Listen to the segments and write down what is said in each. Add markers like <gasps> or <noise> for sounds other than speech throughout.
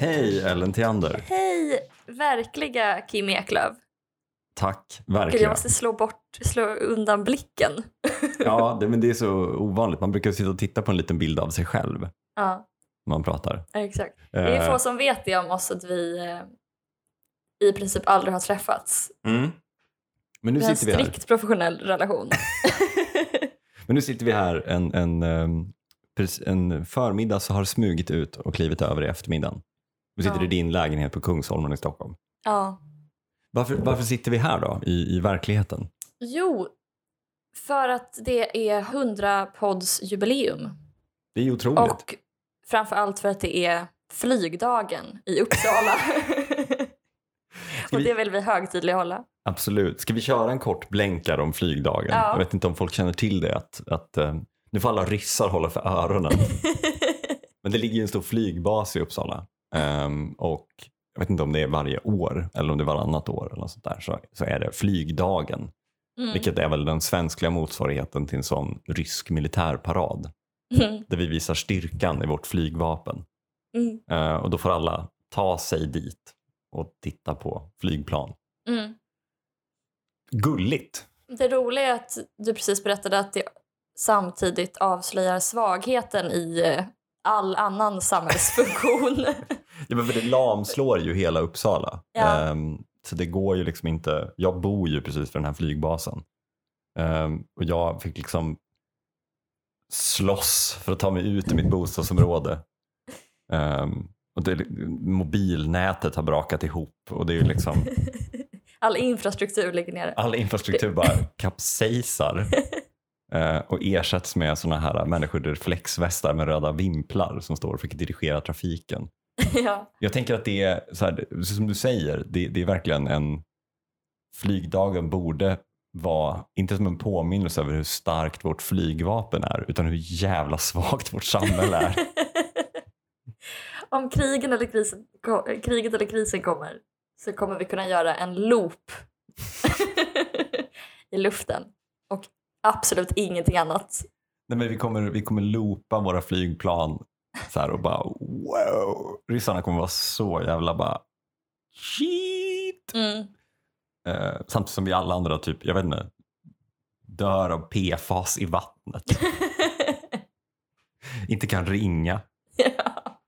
Hej Ellen Theander. Hej, verkliga Kim Eklöf. Tack, Gud, jag verkligen. måste slå, bort, slå undan blicken. Ja, det, men det är så ovanligt. Man brukar sitta och titta på en liten bild av sig själv när Ja, man pratar. exakt. Det är Eh, få som vet det om oss att vi eh, i princip aldrig har träffats. mm. Men nu Vi har en sitter vi här. strikt professionell relation. Men nu sitter vi här en, en, ehm, pres- en förmiddag så har smugit ut och klivit över i eftermiddagen. Vi sitter Ja. i din lägenhet på Kungsholmen i Stockholm. ja. Varför, varför sitter vi här då i, i verkligheten? Jo, för att det är 100 podds jubileum. Det är ju otroligt. Och framför allt för att det är flygdagen i Uppsala. <laughs> Ska Och vi- det vill vi högtidlighålla. Absolut. Ska vi köra en kort blänkare om flygdagen? Ja. Jag vet inte om folk känner till det. Att, att, eh, nu får alla ryssar hålla för <laughs> öronen. Men det ligger ju en stor flygbas i Uppsala. Ehm, och jag vet inte om det är varje år eller om det är varannat år eller något sånt där. Så, så är det flygdagen. Mm. Vilket är väl den svenskliga motsvarigheten till en sån rysk militärparad. Mm. Där vi visar styrkan i vårt flygvapen. Mm. Eh, och då får alla ta sig dit och titta på flygplan. Mm. Gulligt! Det roliga är att du precis berättade att det samtidigt avslöjar svagheten i eh, all annan samhällsfunktion. Ja, men för det lamslår ju hela Uppsala. Ja. Ehm, så det går ju liksom inte. Jag bor ju precis för den här flygbasen. Ehm, och jag fick liksom slåss för att ta mig ut i mitt bostadsområde. Ehm, och det, mobilnätet har brakat ihop och det är ju liksom all infrastruktur ligger nere. all infrastruktur bara kapsejsar eh, och ersätts med såna här människor i reflexvästar med röda vimplar som står och försöker dirigera trafiken. ja. <laughs> Jag tänker att det är, så här, det- som du säger, det, det är verkligen en... Flygdagen borde vara, inte som en påminnelse över hur starkt vårt flygvapen är, utan hur jävla svagt vårt samhälle <laughs> är. Om krigen eller krisen, ko- kriget eller krisen kommer så kommer vi kunna göra en loop <laughs> i luften och absolut ingenting annat. Nej, men vi, kommer, vi kommer loopa våra flygplan så här och bara wow. Ryssarna kommer vara så jävla bara shit. Mm. Eh, samtidigt som vi alla andra typ, jag vet inte, dör av PFAS i vattnet. inte kan ringa. <laughs> ja.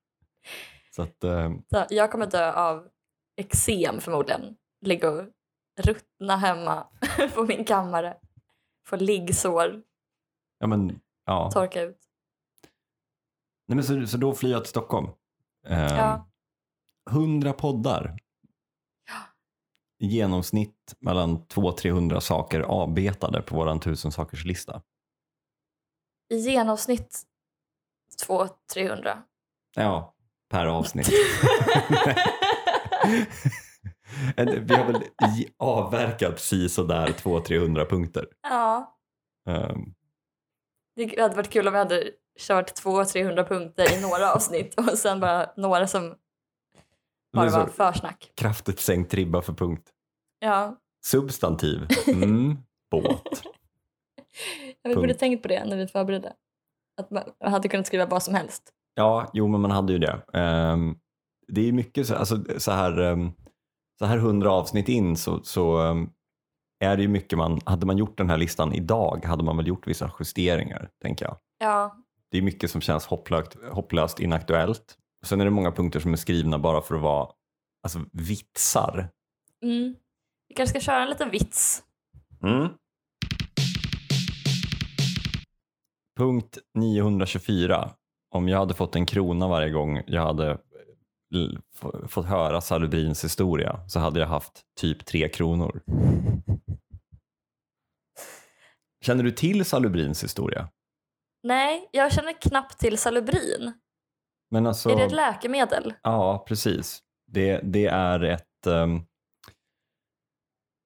Så att, eh, Så jag kommer dö av eksem förmodligen. Ligga och ruttna hemma <laughs> på min kammare. Få liggsår, ja men ja. torka ut. Nej, men så, så då flyr jag till Stockholm. Ehm, Ja. Hundra poddar. I genomsnitt mellan 200-300 saker avbetade på våran tusen sakers lista. I genomsnitt 200-300. <laughs> Ja, per <laughs> avsnitt. En- Vi har väl i- avverkat precis sådär 200-300 punkter. ja, Ehm, det hade varit kul om vi hade kört 200-300 punkter i några avsnitt och sen bara några som det bara är var så försnack. kraftigt sänkt ribba för punkt. Ja, Substantiv. Mm, båt. vi borde Punkt. tänkt på det när vi förberedde. Att man man hade kunnat skriva vad som helst. Ja, jo men man hade ju det. Ehm, det är ju mycket så, alltså, så här ehm, så här hundra avsnitt in så, så ehm, är det ju mycket man, hade man gjort den här listan idag hade man väl gjort vissa justeringar tänker jag. Ja, Det är mycket som känns hopplöst, hopplöst inaktuellt. Och sen är det många punkter som är skrivna bara för att vara alltså, vitsar. mm. vi kanske ska köra en liten vits Mm. Punkt 924. Om jag hade fått en krona varje gång jag hade eh, l- f- fått höra Salubrins historia så hade jag haft typ tre <laughs> kronor. Känner du till Salubrins historia? Nej, jag känner knappt till Salubrin. Men alltså, Är det ett läkemedel? Ja, precis. Det, det är ett... Um,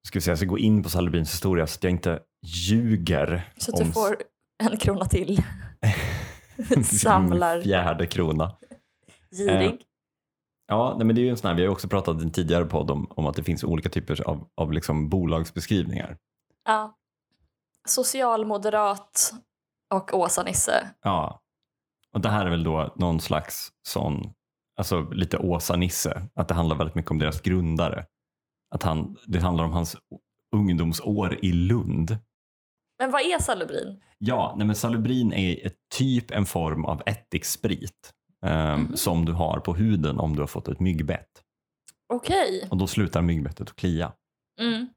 ska vi säga, jag ska gå in på Salubrins historia så att jag inte ljuger. Så att du om- får en krona till. Samlar. Fjärde krona. Girig. Ja, nej, men det är ju en sån här, vi har ju också pratat i en tidigare podd om, om att det finns olika typer av, av liksom bolagsbeskrivningar. Ja. Socialmoderat och Åsa-Nisse. Ja. Och det här är väl då någon slags sån alltså lite Åsa-Nisse, att det handlar väldigt mycket om deras grundare. Att han, det handlar om hans ungdomsår i Lund. Men vad är salubrin? Ja, nej men salubrin är ett, typ en form av ättiksprit ehm, Mhm. som du har på huden om du har fått ett myggbett. Okej. Och då slutar myggbettet att klia. Mm.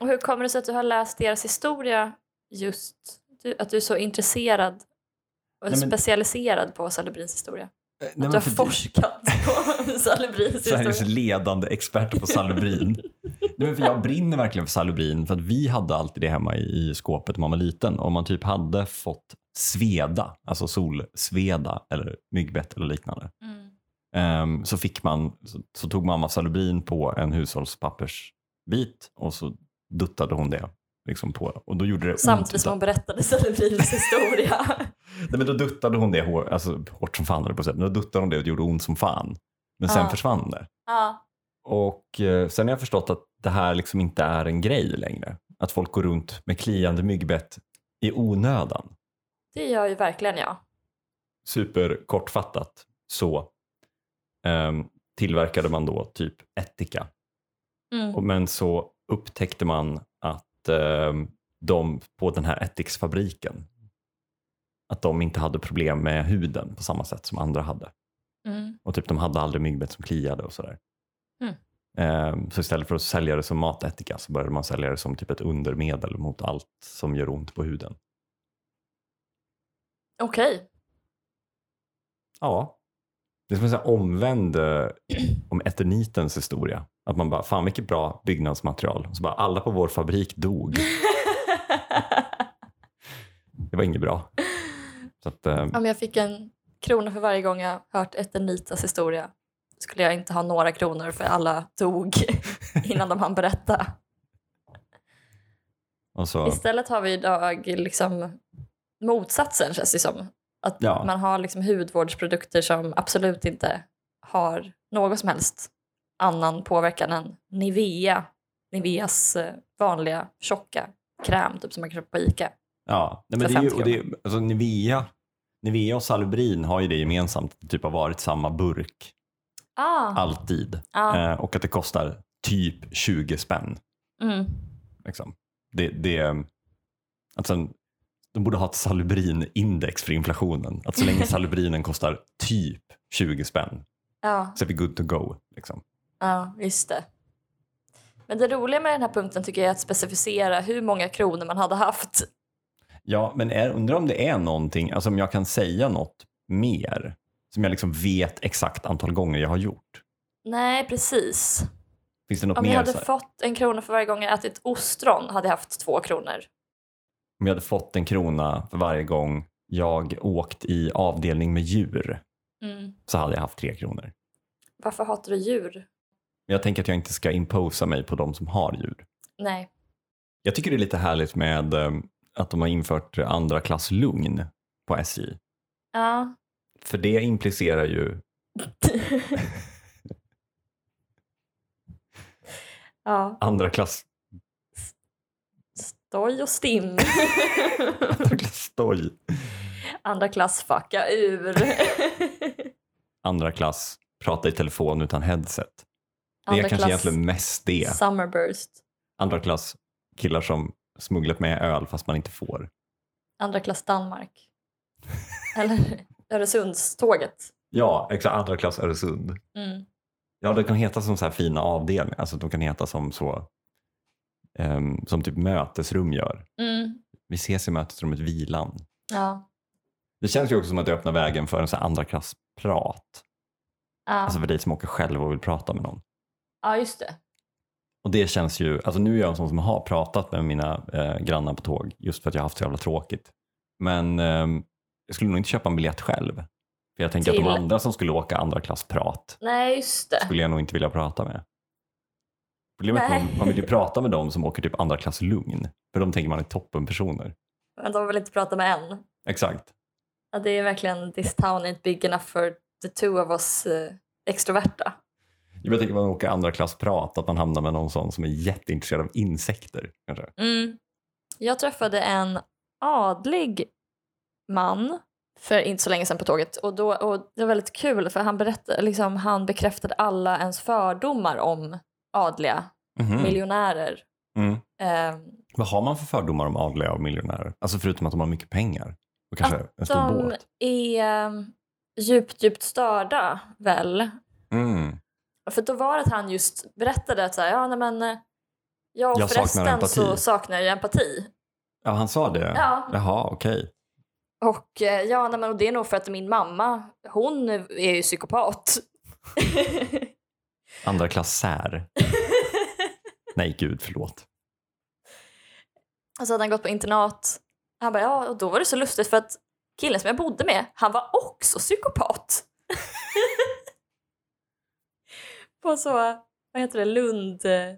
Och hur kommer det sig att du har läst deras historia just, du, att du är så intresserad och Nej, men- specialiserad på salubrins historia? Eh, nej, Att men du har för det- forskat <laughs> på salubrins Sveriges historia? ledande expert på <laughs> salubrin. Nej, men för jag brinner verkligen för salubrin för att vi hade alltid det hemma i, i skåpet när man var liten. Om man typ hade fått sveda, alltså solsveda eller myggbett eller liknande. Mm. Ehm, så, fick man, så, så tog mamma salubrin på en hushållspappersbit och så duttade hon det liksom på. Och då gjorde det ont Samtidigt som utav- hon berättade <laughs> salubrins historia. Nej, men då duttade hon det hår, alltså, hårt som fan, höll jag på att säga. Men Då duttade hon det och det gjorde ont som fan. Men sen Ja. försvann det. ja. Och eh, sen har jag förstått att det här liksom inte är en grej längre. Att folk går runt med kliande myggbett i onödan. Det gör ju verkligen jag. Superkortfattat så ehm, tillverkade man då typ ättika. Mm. Och- Men så upptäckte man att ehm, de på den här ättiksfabriken att de inte hade problem med huden på samma sätt som andra hade. Mm. Och typ de hade aldrig myggbett som kliade och sådär. Mm. Ehm, Så istället för att sälja det som matättika så började man sälja det som typ ett undermedel mot allt som gör ont på huden. Okej. Ja. Det är som en sån här omvänd eh, om eternitens historia. Att man bara, fan vilket bra byggnadsmaterial. Och så bara, alla på vår fabrik dog. Det var inget bra. Så att, ehm, Om jag fick en krona för varje gång jag hört Etenitas historia skulle jag inte ha några kronor för alla <laughs> dog innan de hann berätta. och så, Istället har vi idag liksom motsatsen känns det som. Att Ja. man har liksom hudvårdsprodukter som absolut inte har någon som helst annan påverkan än Nivea. Niveas eh, vanliga tjocka kräm typ som man kan köpa på Ica. ja. Nej, men För det är ju, 50 och det, är- alltså, Nivea, Nivea och Salubrin har ju det gemensamt. Det typ har varit samma burk Ah, alltid. ah. Eh, och att det kostar typ 20 spänn. Mm. Liksom. Det, det, att sen, de borde ha ett salubrinindex för inflationen. Att så <laughs> länge salubrinen kostar typ 20 spänn Ja, så är vi good to go. Liksom. ja, just det. Men det roliga med den här punkten tycker jag är att specificera hur många kronor man hade haft. Ja, men är, undrar om det är någonting, alltså om jag kan säga något mer som jag liksom vet exakt antal gånger jag har gjort. Nej, precis. Finns det något Om mer? jag hade så här? fått en krona för varje gång jag ätit ostron hade jag haft två kronor. Om jag hade fått en krona för varje gång jag åkt i avdelning med djur Mm. så hade jag haft tre kronor. Varför hatar du djur? Men jag tänker att jag inte ska imposa mig på de som har djur. Nej. Jag tycker det är lite härligt med eh, att de har infört andra klass lugn på SJ. Ja. För det implicerar ju, <laughs> ja. andra klass, <laughs> Stoj och <laughs> stim. andra klass stoj, Andra klass fucka <laughs> ur. andra klass prata i telefon utan headset. Det är Andra kanske klass egentligen mest det. summerburst. Andra klass killar som smugglat med öl fast man inte får. Andra <laughs> klass Danmark. Eller Öresundståget. Ja, exakt. Andra klass Öresund. Mm. Ja, de kan heta som så här fina avdelningar. Alltså de kan heta som så, ehm, som typ mötesrum gör. Mm. Vi ses i mötesrummet Vilan. Ja. Det känns ju också som att det öppnar vägen för en sån här andra klass prat. Ja. Alltså för dig som åker själv och vill prata med någon. ja, just det. Och det känns ju, alltså nu är jag en sån som har pratat med mina eh, grannar på tåg just för att jag har haft så jävla tråkigt. Men ehm, jag skulle nog inte köpa en biljett själv. För jag tänker Till- att de andra som skulle åka andra klass prat Nej, just det. skulle jag nog inte vilja prata med. Problemet är att Nej. man, man vill ju prata med dem som åker typ andra klass lugn. För de tänker man är toppenpersoner. Men de vill inte prata med en. Exakt. Ja, det är verkligen this town ain't big enough for the two of us eh, extroverta. Jag tänker man åker andra klass prat, att man hamnar med någon sån som är jätteintresserad av insekter. Kanske. Mm. Jag träffade en adlig man för inte så länge sedan på tåget och, då, och det var väldigt kul för han, berättade, liksom, han bekräftade alla ens fördomar om adliga Mhm. miljonärer. Mm. Ehm, Vad har man för fördomar om adliga och miljonärer? Alltså förutom att de har mycket pengar och kanske en stor de båt. är ehm, djupt, djupt störda väl. Mm. För då var det att han just berättade att så här, ja, nej, men, eh, jag, Jag saknar förresten så empati." saknar jag empati. Ja, han sa det? Ja. Jaha, okej. Och, eh, ja, nej, men, och det är nog för att min mamma, hon är ju psykopat. <laughs> Andra klass <laughs> sär. Nej, gud, förlåt. Och så hade han gått på internat. Han bara, ja, och då var det så lustigt för att killen som jag bodde med, han var också psykopat. <laughs> på så, vad heter det, Lund, eh,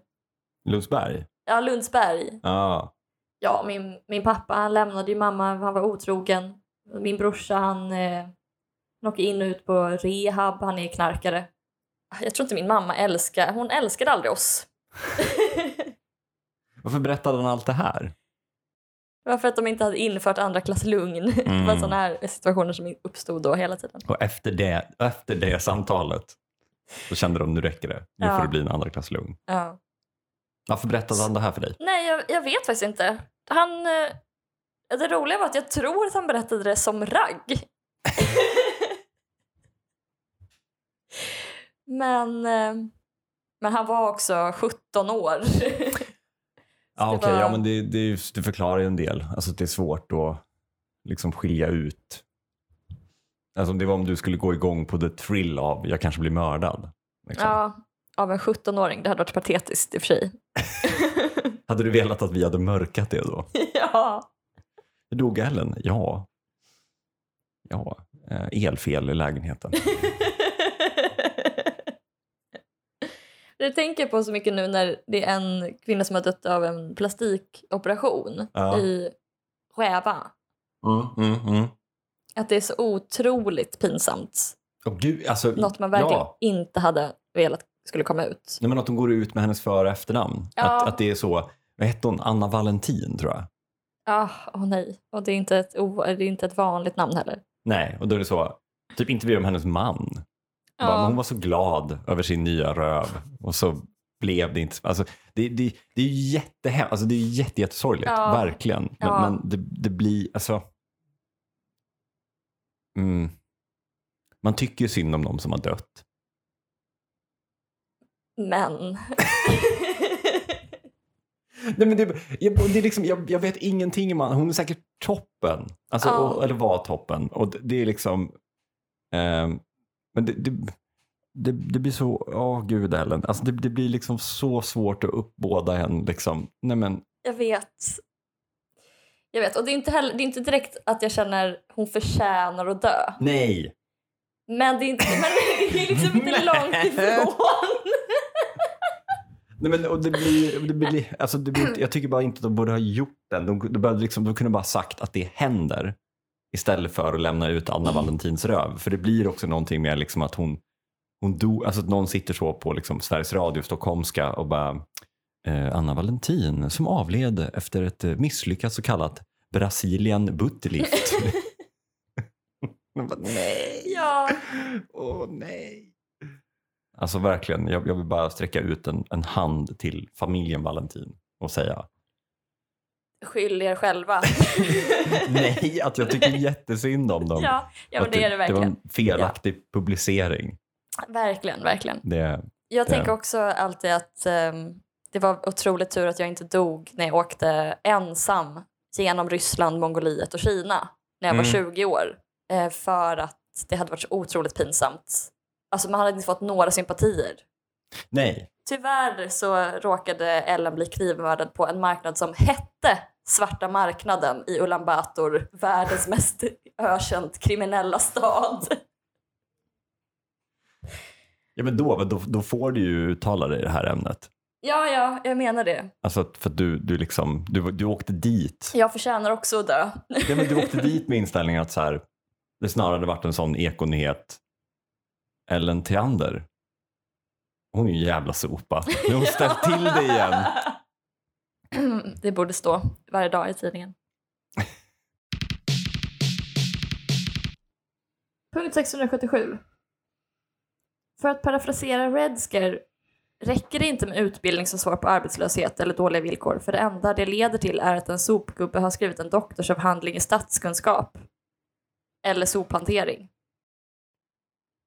Lundsberg? ja Lundsberg. Ja. Ja, min, min pappa, han lämnade ju mamma, han var otrogen. Min brorsa, han, eh, han åker in och ut på rehab, han är knarkare. Jag tror inte min mamma älskar, hon älskade aldrig oss. Varför berättade han allt det här? Det var för att de inte hade infört andra klass lugn. <laughs> Det var Mm. sådana här situationer som uppstod då hela tiden. Och efter det, efter det samtalet så kände de nu räcker det. Nu Ja. får det bli en andra klass lugn. Ja. Varför berättade han det här för dig? Nej, jag, jag vet faktiskt inte. Han, eh, det roliga var att jag tror att han berättade det som ragg. <laughs> men, eh, men han var också 17 år. Ja, det okej. var- Ja, men det, det, är ju- det förklarar ju en del. Alltså att det är svårt att liksom skilja ut. Alltså om det var om du skulle gå igång på the thrill av jag kanske blir mördad. Liksom. ja, av en 17-åring. Det hade varit patetiskt i och för sig. Hade du velat att vi hade mörkat det då? <laughs> ja. Hur dog Ellen? Ja. Ja, eh, elfel i <laughs> lägenheten. Det tänker <laughs> jag på så mycket nu när det är en kvinna som har dött av en plastikoperation Ja. i Räva. Mm, mm, mm. Att det är så otroligt pinsamt. Åh, gud, alltså, Något man verkligen Ja. inte hade velat skulle komma ut. Nej, men att de går ut med hennes för och efternamn. Ja. Att, att det är så, vad hette hon, Anna Valentin tror jag. Ah, åh nej. Och det är, inte ett, o- det är inte ett vanligt namn heller. Nej, och då är det så, typ intervjuar med hennes man. Bara, men hon var så glad över sin nya röv och så blev det inte... Alltså, det, det, det är ju jättehemskt, alltså, det är ju jätte, jättesorgligt, Ja. verkligen. Men, Ja. men det, det blir, alltså... Mm. Man tycker ju synd om de som har dött. Men. <laughs> Nej, men det, jag, det är liksom, jag, jag vet ingenting om han. Hon är säkert toppen. Alltså, Ja. och, eller var toppen. Och det, det är liksom... ehm, men det, det, det, det blir så... Ja, gud Ellen. Alltså, det, det blir liksom så svårt att uppbåda en. Liksom. Nej, men, Jag vet. Jag vet. Och det är, inte heller, det är inte direkt att jag känner hon förtjänar att dö. nej! Men det är, inte, men det är liksom <laughs> inte Nej. långt ifrån. nej men, och det blir, det blir, alltså, det blir, jag tycker bara inte att de borde ha gjort den. De, de, borde liksom, de kunde bara ha sagt att det händer istället för att lämna ut Anna Valentins röv. För det blir också någonting med liksom att hon, hon do, alltså att någon sitter så på liksom Sveriges Radio stockholmska och bara eh, Anna Valentin som avled efter ett eh, misslyckat så kallat Brasilian <laughs> buttlift. Man bara, nej. Ja, Åh nej. Alltså verkligen, jag, jag vill bara sträcka ut en, en hand till familjen Valentin och säga skyll er själva. <laughs> nej, att jag tycker jättesynd om dem. Ja, ja men Att det är Det det var verkligen. en felaktig publicering. Verkligen, verkligen. Det, Jag Det- tänker också alltid att ehm, det var otroligt tur att jag inte dog när jag åkte ensam genom Ryssland, Mongoliet och Kina när jag var Mm. 20 år. Eh, för att det hade varit så otroligt pinsamt. Alltså man hade inte fått några sympatier. nej, Tyvärr så råkade Ellen bli knivmördad på en marknad som hette Svarta marknaden i Ulan Bator, världens mest ökänt kriminella stad. ja, men då, då, då får du ju uttala dig i det här ämnet. Ja, ja, jag menar det. Alltså att- för att du, du, liksom, du, du åkte dit. Jag förtjänar också att dö. Ja, men du åkte dit med inställningen att så här, det snarare hade varit en sån ekonyhet. Ellen Theander. Hon är ju en jävla sopa. Nu har hon ställt till det igen. <clears throat> Det borde stå varje dag i tidningen. Punkt 677. För att parafrasera Redsker räcker det inte med utbildning som svar på arbetslöshet eller dåliga villkor, för det enda det leder till är att en sopgubbe har skrivit en doktorsavhandling i statskunskap. Eller sophantering.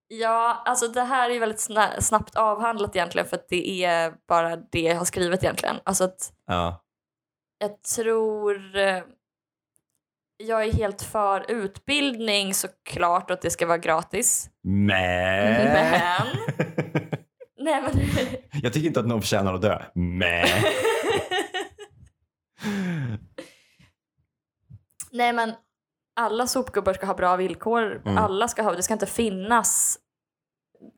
Ja, alltså det här är ju väldigt sna- snabbt avhandlat egentligen för att det är bara det jag har skrivit egentligen. Alltså att Ja, jag tror eh, jag är helt för utbildning såklart och att det ska vara gratis. Mm. Eh. Mä. Men, nej men, <laughs> Jag tycker inte att någon förtjänar att dö. Mä. nej men alla sopgubbar ska ha bra villkor. Mm. Alla ska ha, det ska inte finnas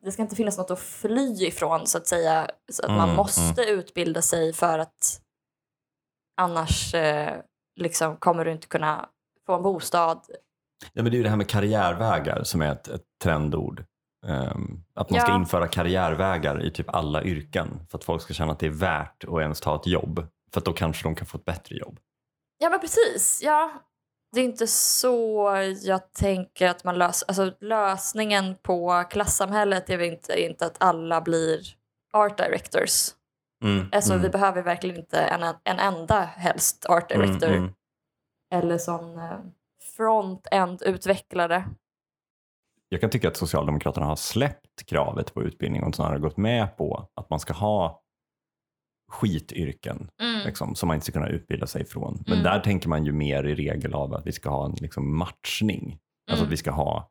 det ska inte finnas något att fly ifrån så att säga. Så att man Mm, måste utbilda sig för att annars eh, liksom kommer du inte kunna få en bostad. Ja, men det är ju det här med karriärvägar som är ett, ett trendord. Ehm, att man ska Ja. införa karriärvägar i typ alla yrken för att folk ska känna att det är värt att ens ta ett jobb. För att då kanske de kan få ett bättre jobb. Ja men precis, ja. Det är inte så jag tänker att man löser... Alltså lösningen på klassamhället är väl inte, inte att alla blir art directors. Mm. Alltså vi behöver verkligen inte en, en enda helst art director. Mm, mm. Eller som eh, front-end-utvecklare. Jag kan tycka att Socialdemokraterna har släppt kravet på utbildning och snarare gått med på att man ska ha skityrken Mm. liksom, som man inte ska kunna utbilda sig från. Men Mm. där tänker man ju mer i regel av att vi ska ha en liksom, matchning. Alltså Mm. att vi ska ha,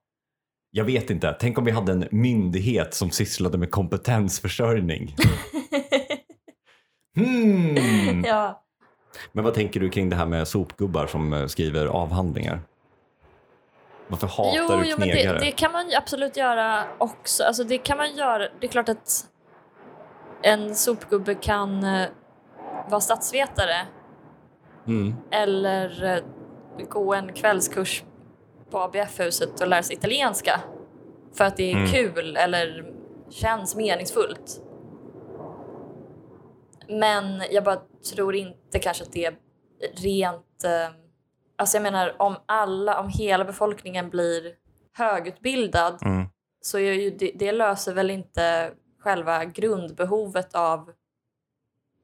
jag vet inte, tänk om vi hade en myndighet som sysslade med <laughs> kompetensförsörjning. Hmm. ja. Men vad tänker du kring det här med sopgubbar som eh, skriver avhandlingar? Varför hatar Jo, du jo men knegare? det, det kan man ju absolut göra också. Alltså det kan man göra. Det är klart att en sopgubbe kan eh, vara statsvetare Mm. eller eh, gå en kvällskurs på ABF-huset och lära sig italienska för att det är Mm. kul eller känns meningsfullt. Men jag bara tror inte kanske att det är rent... Eh, alltså jag menar om alla, om hela befolkningen blir högutbildad Mm. så är ju det, det löser väl inte själva grundbehovet av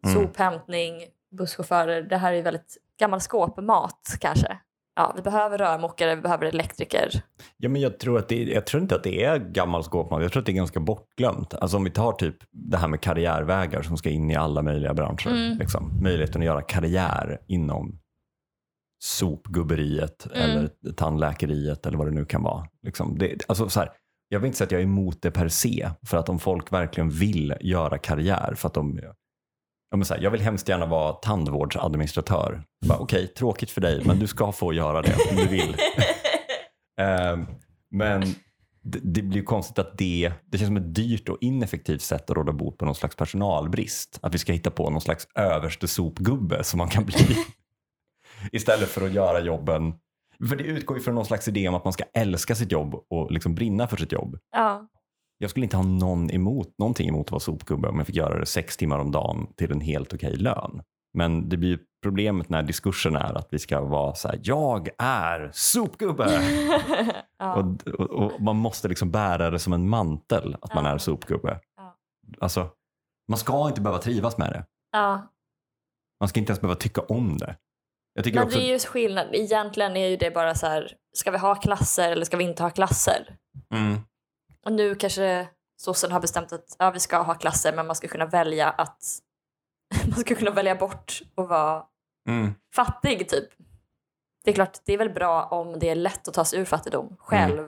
Mm. sophämtning, busschaufförer. Det här är ju väldigt gammal skåpmat kanske. Ja, vi behöver rörmokare, vi behöver elektriker. Ja, men jag, tror att det, jag tror inte att det är gammal skåpmat. Jag tror att det är ganska bortglömt. Alltså om vi tar typ det här med karriärvägar som ska in i alla möjliga branscher. Mm. Liksom. Möjligheten att göra karriär inom sopgubberiet Mm. eller tandläkeriet eller vad det nu kan vara. Liksom. Det, alltså så här, jag vill inte säga att jag är emot det per se, för att om folk verkligen vill göra karriär för att de Ja, men så här, jag vill hemskt gärna vara tandvårdsadministratör. Bara, Okej, tråkigt för dig, men du ska få göra det om du vill. Ehm, men det, det blir ju konstigt att det, det känns som ett dyrt och ineffektivt sätt att råda bot på någon slags personalbrist. Att vi ska hitta på någon slags överste sopgubbe som man kan bli. Istället för att göra jobben. För det utgår ju från någon slags idé om att man ska älska sitt jobb och liksom brinna för sitt jobb. Ja. Jag skulle inte ha någon emot, någonting emot att vara sopgubbe om jag fick göra det sex timmar om dagen till en helt okej lön. Men det blir ju problemet när diskursen är att vi ska vara så här, jag är sopgubbe! <laughs> ja. Och, och, och man måste liksom bära det som en mantel att man Ja. är sopgubbe. Ja. Alltså, man ska inte behöva trivas med det. ja. Man ska inte ens behöva tycka om det. Jag tycker Men också, det är ju skillnad. Egentligen är ju det bara så här, ska vi ha klasser eller ska vi inte ha klasser? mm, Och nu kanske sossen har bestämt att ja, vi ska ha klasser men man ska kunna välja att <laughs> man ska kunna välja bort och vara mm, fattig typ. Det är klart, det är väl bra om det är lätt att ta sig ur fattigdom själv.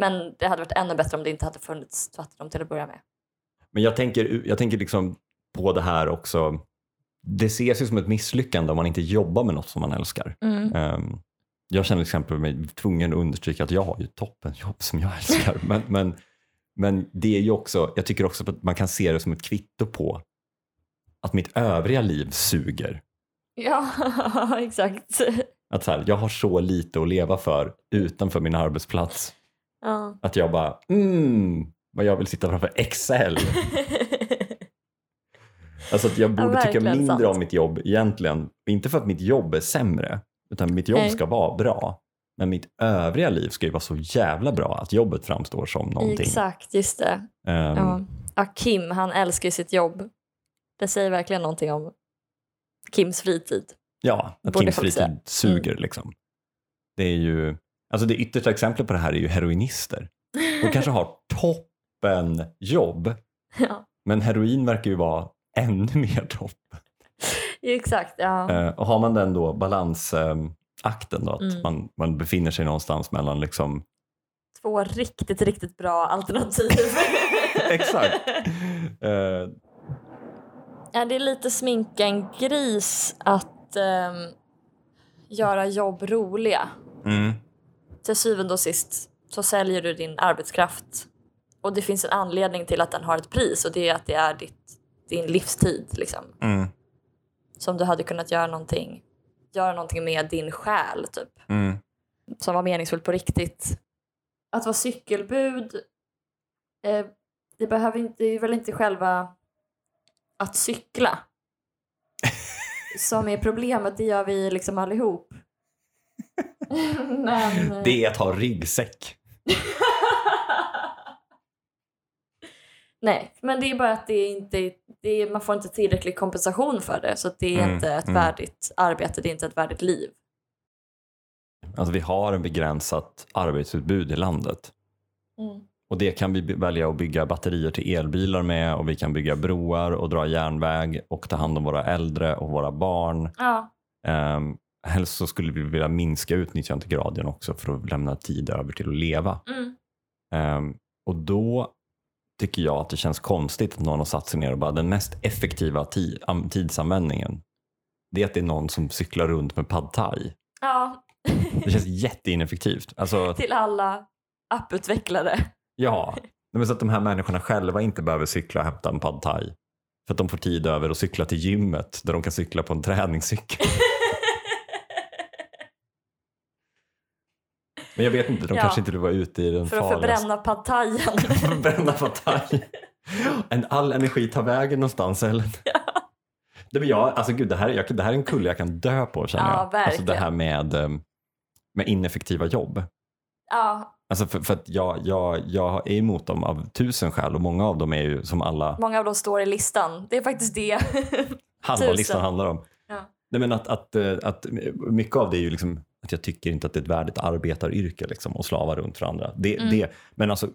Men det hade varit ännu bättre om det inte hade funnits fattigdom till att börja med. Men jag tänker, jag tänker liksom på det här också. Det ses ju som ett misslyckande om man inte jobbar med något som man älskar. Mm. Ehm, jag känner till exempel mig tvungen att understryka att jag har ju toppenjobb som jag <laughs> älskar. Men, men, men det är ju också, jag tycker också att man kan se det som ett kvitto på att mitt övriga liv suger. <laughs> Ja, <laughs> exakt. Att så här, jag har så lite att leva för utanför min arbetsplats <laughs> Ja. att jag bara, mm, vad jag vill sitta framför Excel. Alltså att jag borde tycka verkligen mindre sant. om mitt jobb egentligen. Inte för att mitt jobb är sämre, utan mitt jobb Nej. ska vara bra. Men mitt övriga liv ska ju vara så jävla bra att jobbet framstår som någonting. Exakt, just det. Ehm, Ja. Ja, Kim, han älskar ju sitt jobb. Det säger verkligen någonting om Kims fritid. Ja, att Borde Mm. Kims folk fritid säga. suger liksom. Det är ju, alltså det yttersta exemplet på det här är ju heroinister. De kanske <laughs> har toppen jobb, Ja. men heroin verkar ju vara ännu mer topp. Ja, Exakt, ja. Eh, och har man den då balansakten då, att Mm. man, man befinner sig någonstans mellan liksom, Två riktigt, riktigt bra alternativ. <laughs> <laughs> exakt. Eh, ja, det är lite sminka en gris att ehm, göra jobb roliga. mm, Till syvende och sist så säljer du din arbetskraft. Och det finns en anledning till att den har ett pris och det är att det är ditt, din livstid. Liksom. mm, Som du hade kunnat göra någonting, göra någonting med din själ. Typ. mm. som var meningsfullt på riktigt. Att vara cykelbud, eh, det, behöver inte, det är väl inte själva att cykla som är problemet, det gör vi liksom <laughs> allihop. Men, eh, Det är att ha ryggsäck. Nej, men det är bara att det är inte, det är, man får inte tillräcklig kompensation för det så att det är Mm, inte ett mm. värdigt arbete, det är inte ett värdigt liv. Alltså vi har en begränsat arbetsutbud i landet. Mm. Och det kan vi by- välja att bygga batterier till elbilar med och vi kan bygga broar och dra järnväg och ta hand om våra äldre och våra barn. Ja. Um, helst så skulle vi vilja minska utnyttjandegraden också för att lämna tid över till att leva. Mm. Ehm, och då tycker jag att det känns konstigt att någon har satt sig ner och bara den mest effektiva ti- am- tidsanvändningen det är att det är någon som cyklar runt med pad thai. ja, Det <laughs> känns jätteineffektivt. Alltså, till alla apputvecklare. Ja, Nej, men så att de här människorna själva inte behöver cykla och hämta en pad thai. För att de får tid över att cykla till gymmet där de kan cykla på en <laughs> träningscykel. Men jag vet inte, de Ja. kanske inte vill vara ute i den För att förbränna pad thaien. <laughs> förbränna pad thai. En all energi tar vägen någonstans <laughs> Ellen. Nej, men jag, alltså, gud, det, här, jag, det här är en kulle jag kan dö på känner Ja, jag. Alltså verkligen. det här med, eh, med ineffektiva jobb. <laughs> ja, Alltså för, för att jag, jag, jag är emot dem av tusen skäl och många av dem är ju som alla många av dem står i listan. Det är faktiskt det. halva Tusen. listan handlar om. Ja. Nej, men att, att, eh, att mycket av det är ju liksom att jag tycker inte att det är ett värdigt arbetaryrke liksom, att slava runt för andra. Det, Mm. det, men alltså,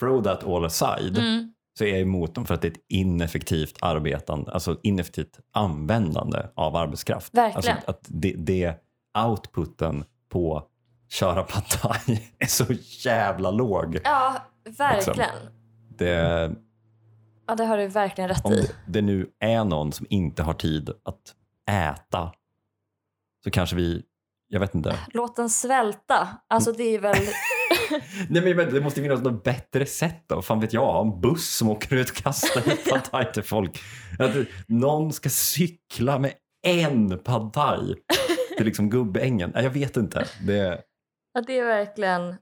throw that all aside Mm. så är jag emot dem för att det är ett ineffektivt arbetande, alltså ineffektivt användande av arbetskraft. Verkligen. Alltså att det, det outputen på köra pad thai <laughs> är så jävla låg. Ja, verkligen. Det, Ja, det har du verkligen rätt om i. det, det nu är någon som inte har tid att äta så kanske vi, jag vet <laughs> inte. Låt den svälta. Alltså det är väl... Nej men vänta, det måste finnas något bättre sätt då. Fan vet jag, en buss som åker ut och kastar <laughs> ut pad thai till folk. Att någon ska cykla med en pad thai <laughs> till liksom gubbängen. Nej, jag vet inte. Det, Ja, det är verkligen...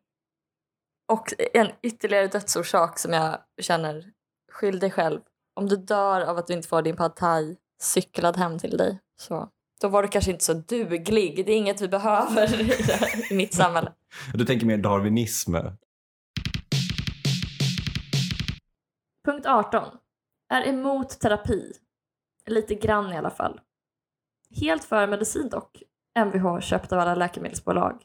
Och en ytterligare dödsorsak som jag känner, skyll dig själv. Om du dör av att du inte får din pad thai cyklad hem till dig, så då var du kanske inte så duglig. Det är inget vi behöver <laughs> i- i mitt samhälle. du tänker mer darwinism. Punkt 18. Är emot terapi. Lite grann i alla fall. Helt för medicin dock. Mvh köpt av alla läkemedelsbolag.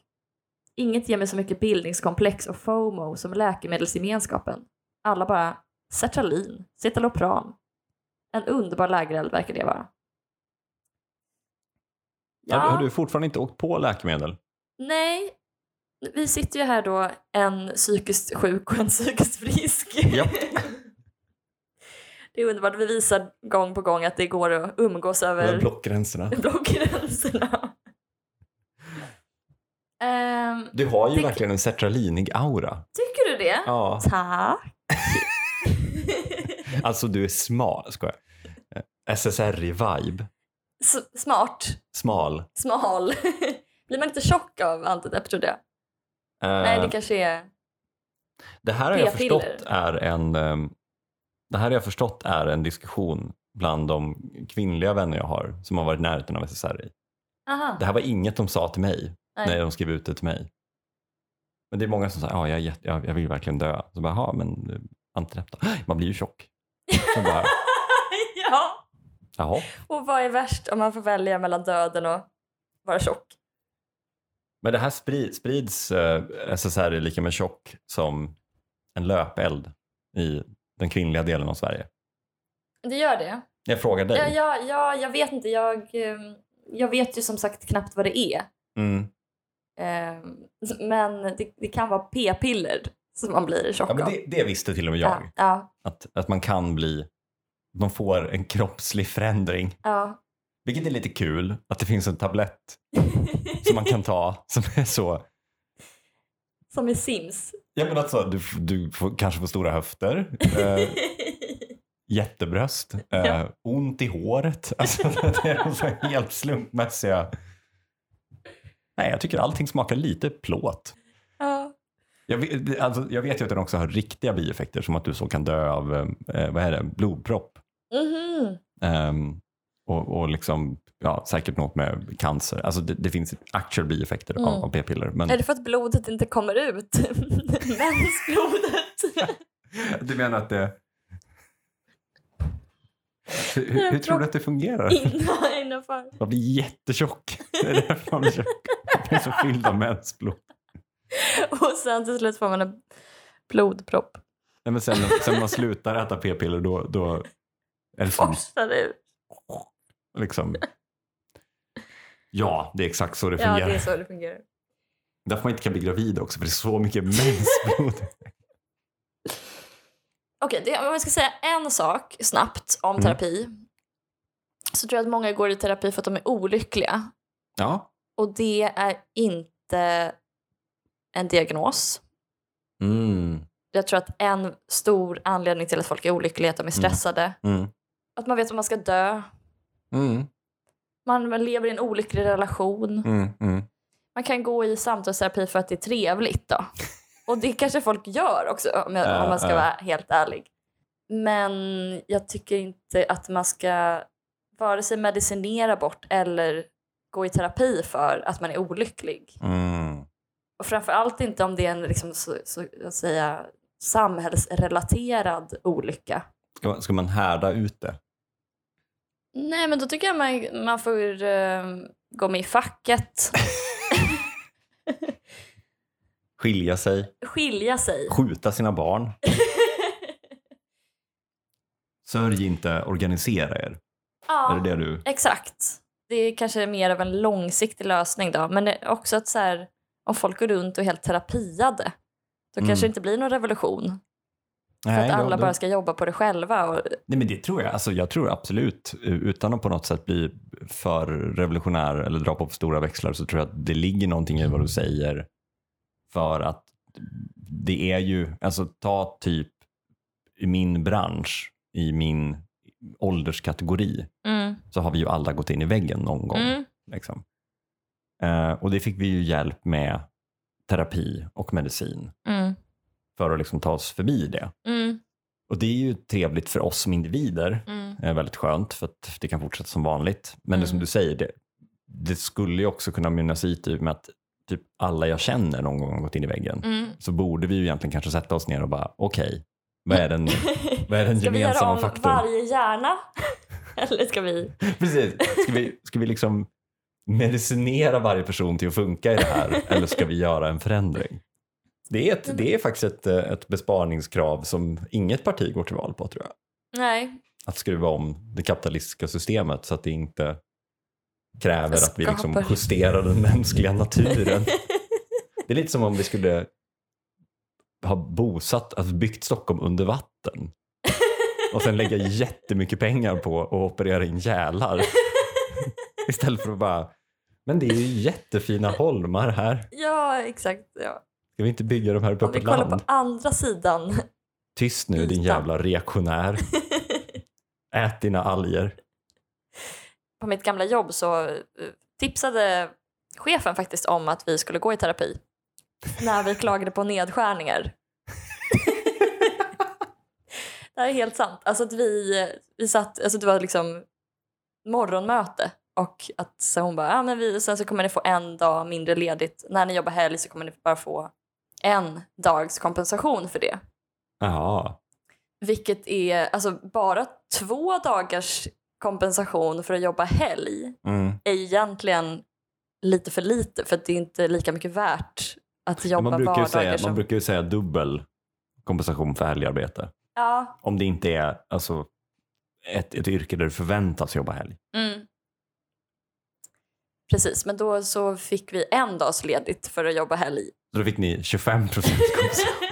Inget ger mig så mycket bildningskomplex och FOMO som läkemedelsgemenskapen. Alla bara sertralin, cetalopram. En underbar lägereld verkar det vara. Ja, Har, har du fortfarande inte åkt på läkemedel? nej. Vi sitter ju här då, en psykiskt sjuk och en psykiskt frisk. Japp. <laughs> Det är underbart, vi visar gång på gång att det går att umgås över Blockgränserna. <laughs> blockgränserna. Ehm, Du har ju Tänk- verkligen en sertralinig aura. tycker du det? Ja. <laughs> Tack. Alltså du är smal, skojar. Eh, SSRI-vibe. S- smart, Smal. smal. <laughs> Blir man inte tjock av antidepp tror jag? Nej, det Äh. kanske är... Eh, det här har jag p-piller. förstått är en ehm, det här har jag förstått är en diskussion bland de kvinnliga vänner jag har som har varit i närheten av SSRI. Aha. Det här var inget de sa till mig Nej. när de skrev ut det till mig. Men det är många som säger ja, jag, är jätte- jag, jag vill verkligen dö. Så bara, jaha, men eh, antireptal. <gasps> Man blir ju <laughs> tjock. Så bara, <laughs> ja. jaha. Och vad är värst om man får välja mellan döden och vara tjock? Men det här sprid, sprids, eh, SSR är lika med tjock, som en löpeld i den kvinnliga delen av Sverige. Det gör det. Jag frågar dig. Ja, ja, ja, jag vet inte. Jag, eh, jag vet ju som sagt knappt vad det är. Mm. Eh, Men det, det kan vara p-piller som man blir tjock Ja, men av. det, det visste till och med jag. ja, ja, Att, att man kan bli, de får en kroppslig förändring. ja. Vilket är lite kul, att det finns en tablett som man kan ta som är så Som i <laughs> Sims. Ja men alltså, du, f- du får, kanske får stora höfter, eh, jättebröst, eh, Ja. ont i håret. <laughs> Alltså, det är de så här helt slumpmässiga. Nej, jag tycker allting smakar lite plåt. ja. Jag vet, det- alltså, jag vet ju att den också har riktiga bieffekter, som att du så kan dö av eh, vad är det, blodpropp. Mhm. Ehm, och, och liksom, ja, säkert något med cancer. Alltså, det, det finns actual bieffekter av, Mm. av p-piller. Men Är det för att blodet inte kommer <laughs> ut? Mensblodet. du menar att det... Hur, Jag hur tror du plock- att det fungerar? <laughs> Innan, innanför. Man blir jättetjock. <laughs> Det är därför man blir tjock. Man blir så fylld av mensblod. Och sen till slut får man en blodpropp. Nej, men sen, sen man slutar äta p-piller då, då är det som, Forsar ut. liksom... Ja, det är exakt så det Ja, fungerar. det är så det fungerar. Därför man inte kan bli gravid också, för det är så mycket <laughs> mensblod. Okej, det- om jag ska säga en sak snabbt om Mm. terapi så tror jag att många går i terapi för att de är olyckliga. Ja. Och det är inte en diagnos. Mm. Jag tror att en stor anledning till att folk är olyckliga är att de är stressade. Mm. Att man vet att man ska dö. Mm. Man lever i en olycklig relation. Mm. Mm. Man kan gå i samtalsterapi för att det är trevligt då. Och det kanske folk gör också om, jag, Ja, om man ska ja. vara helt ärlig. Men jag tycker inte att man ska vare sig medicinera bort eller gå i terapi för att man är olycklig. Mm. Och framförallt inte om det är en liksom, så, så att säga, samhällsrelaterad olycka. Ska man- Ska man härda ut det? Nej, men då tycker jag man, man får eh, gå med i facket, Skilja sig? skilja sig. Skjuta sina <laughs> barn? Sörj inte, organisera er. Ja. Är det det du... Exakt. Det är kanske mer av en långsiktig lösning då. Men det är också att så här, om folk går runt och är helt terapiade då Mm. kanske det inte blir någon revolution. För Nej, att då- alla då- bara ska jobba på det själva. Och, Nej men det tror jag. Alltså, jag tror absolut, utan att på något sätt bli för revolutionär eller dra på för stora växlar så tror jag att det ligger någonting i vad du säger. För att det är ju, alltså ta typ i min bransch, i min ålderskategori, mm. så har vi ju alla gått in i väggen någon gång. Mm. Liksom. Eh, och det fick vi ju hjälp med terapi och medicin Mm. för att liksom ta oss förbi det. Mm. Och det är ju trevligt för oss som individer, Mm. är väldigt skönt för att det kan fortsätta som vanligt. Men det Mm. som du säger, det, det skulle ju också kunna mynnas ut i med att typ alla jag känner någon gång har gått in i väggen. Mm. Så borde vi ju egentligen kanske sätta oss ner och bara okej, vad är <laughs> den, vad är den Ska vi göra gemensamma om faktorn? varje hjärna? <laughs> Eller ska vi... <laughs> Precis, ska vi, ska vi liksom medicinera varje person till att funka i det <laughs> här eller ska vi göra en förändring? Det är, ett, det är faktiskt ett, eh, ett besparingskrav som inget parti går till val på tror jag. Nej, att skruva om det kapitalistiska systemet så att det inte kräver att vi liksom Skapar. Mm. justerar den mänskliga <laughs> naturen. Det är lite som om vi skulle ha bosatt, alltså byggt Stockholm under vatten och sen lägga jättemycket pengar på att operera in <laughs> gälar istället för att bara, men det är ju jättefina holmar här, ja exakt. Ja. ska vi inte bygga de här uppe Om på vi kollar land? på andra sidan. Tyst nu din ytan. jävla <laughs> reaktionär, ät dina alger. på mitt gamla jobb så eh, tipsade chefen faktiskt om att vi skulle gå i terapi när vi klagade på nedskärningar. <laughs> det här är helt sant. Alltså att vi, vi satt, alltså det var liksom morgonmöte och att så hon bara, ja men vi, sen så kommer ni få en dag mindre ledigt. När ni jobbar helg så kommer ni bara få en dags kompensation för det. Jaha. Vilket är alltså bara två dagars kompensation för att jobba helg Mm. är egentligen lite för lite för att det är inte lika mycket värt att jobba man, brukar ju vardagar säga, som... man brukar ju säga dubbel kompensation för helgarbete. Ja, Om det inte är alltså, ett, ett yrke där du förväntas jobba helg. Mm. Precis, men då så fick vi en dags ledigt för att jobba <laughs> helg. Så då fick ni 25 procent <laughs> kompensation.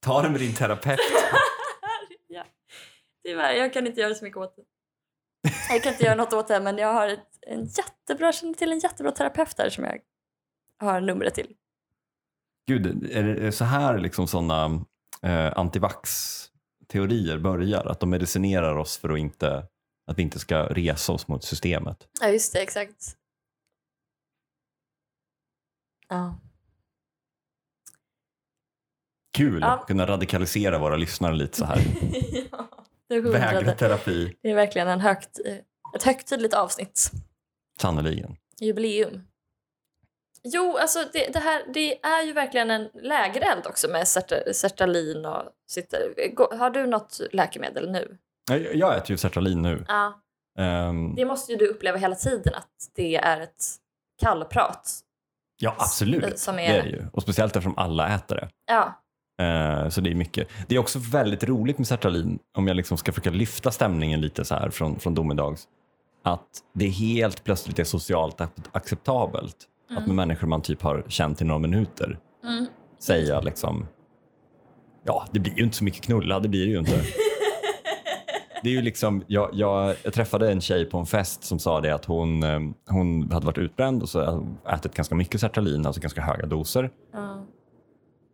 Ta det med din terapeut. ja. Tyvärr, jag kan inte göra så mycket åt det. Jag kan inte göra något åt det, men jag har ett, en jättebra, känner till en jättebra terapeut där som jag har numret till. Gud, är det är så här liksom sådana eh, antivax-teorier börjar? Att de medicinerar oss för att, inte, att vi inte ska resa oss mot systemet. Ja, just det, exakt. Ja. Kul Ja. att kunna radikalisera våra lyssnare lite så här. <laughs> ja. Det, är Vägra hundrade. terapi. det är verkligen en högt, eh, ett högtidligt avsnitt. Sannerligen. Jubileum. Jo, alltså det, det här det är ju verkligen en lägereld också med serta- sertralin och sitter. gå- Har du något läkemedel nu? Jag, jag äter ju sertralin nu. Ja. Ehm, Det måste ju du uppleva hela tiden att det är ett kallprat. Eh, Ja, absolut. som det är- är det ju. Och speciellt eftersom alla äter det. Ja, Eh, Så det är mycket. Det är också väldigt roligt med sertralin, om jag liksom ska försöka lyfta stämningen lite så här från, från domedags, att det helt plötsligt är socialt ac- acceptabelt att med människor man typ har känt i några minuter Mm. säga liksom Ja, det blir ju inte så mycket knulla, det blir det ju inte. Det är ju liksom, jag, jag, jag träffade en tjej på en fest som sa det att hon, eh, hon hade varit utbränd och så hade hon ätit ganska mycket sertralin, alltså ganska höga doser. ja.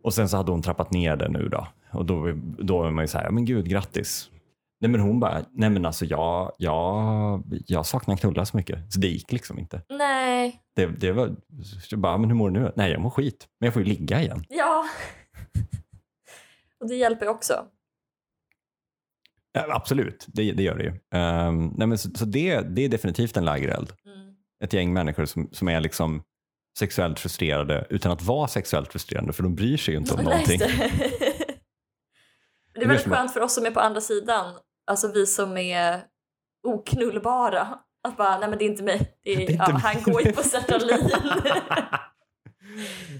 Och sen så hade hon trappat ner det nu då. Och då, då är man ju så här, men gud, grattis. Nej men hon bara, nej men alltså jag, jag, jag saknar knulla så mycket. Så det gick liksom inte. Nej, Det, det var, jag bara, men hur mår du nu? Nej jag mår skit, men jag får ju ligga igen. ja. <laughs> Och det hjälper ju också. Ja, absolut, det, det gör det ju. Ehm, nej men så så det, det är definitivt en lägereld. Mm. Ett gäng människor som, som är liksom sexuellt frustrerade utan att vara sexuellt frustrerande för de bryr sig ju inte om Nej, någonting. just det. <laughs> det blir är väldigt som att- skönt för oss som är på andra sidan, alltså vi som är oknullbara. Att bara, nej men det är inte mig. Det <laughs> är, Det är inte ja, han mig. går ju <laughs> på sertralin.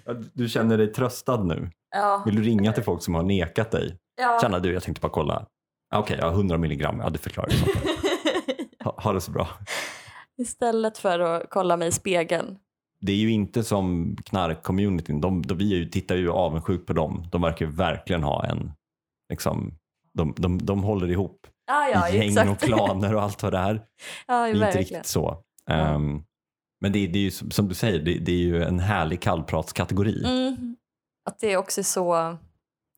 Ja, Du känner dig tröstad nu. ja, Vill du ringa till folk som har nekat dig? ja. Tjena du, jag tänkte bara kolla. Ah, Okej, ja, 100 milligram. Ja, du förklarar det. <laughs> så. Ha, ha det så bra. Istället för att kolla mig i spegeln. Det är ju inte som knarkcommunityn. De, de, vi är ju, tittar ju avundsjuk på dem. De verkar ju verkligen ha en... Liksom, de, de, de håller ihop Ja, ja, i gäng exakt. och klaner och allt vad det <laughs> är. Ja, Det är inte verkligen. riktigt så. Ja. Ehm, men det, är- det är ju som som du säger, det, det är ju en härlig kallpratskategori. Mm. Att det också är så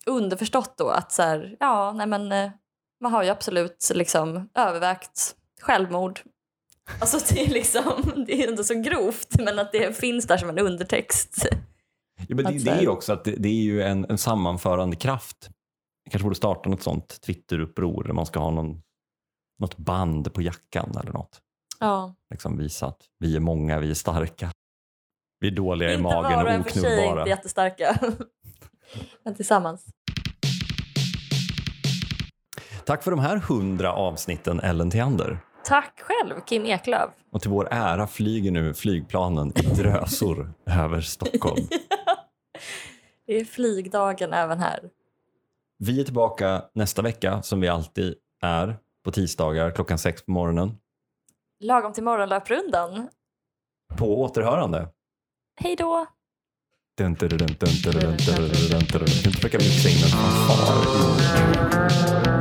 underförstått då att så här, ja, nej men eh, man har ju absolut liksom övervägt självmord. Alltså det är liksom, det är inte så grovt men att det finns där som en undertext. Ja, men det, Att så det här- är ju också att det, det är ju en, en sammanförande kraft. Jag kanske borde starta något sånt Twitteruppror där man ska ha någon, något band på jackan eller något. Ja. Liksom visa att vi är många, vi är starka. Vi är dåliga i Inte magen var och och en för sig inte oknullbara. jättestarka. <laughs> men tillsammans. Tack för de här hundra avsnitten Ellen Theander. Tack själv Kim Eklöf. Och till vår ära flyger nu flygplanen i drösor <laughs> över Stockholm. Det är flygdagen även här. Vi är tillbaka nästa vecka som vi alltid är på tisdagar klockan sex på morgonen. Lagom till morgonlöprundan. På återhörande. Hej då! Dun, dun, dun, dun, dun, dun, dun, dun, dun, dun, dun. Jag kan inte försöka mixa in en fanfar i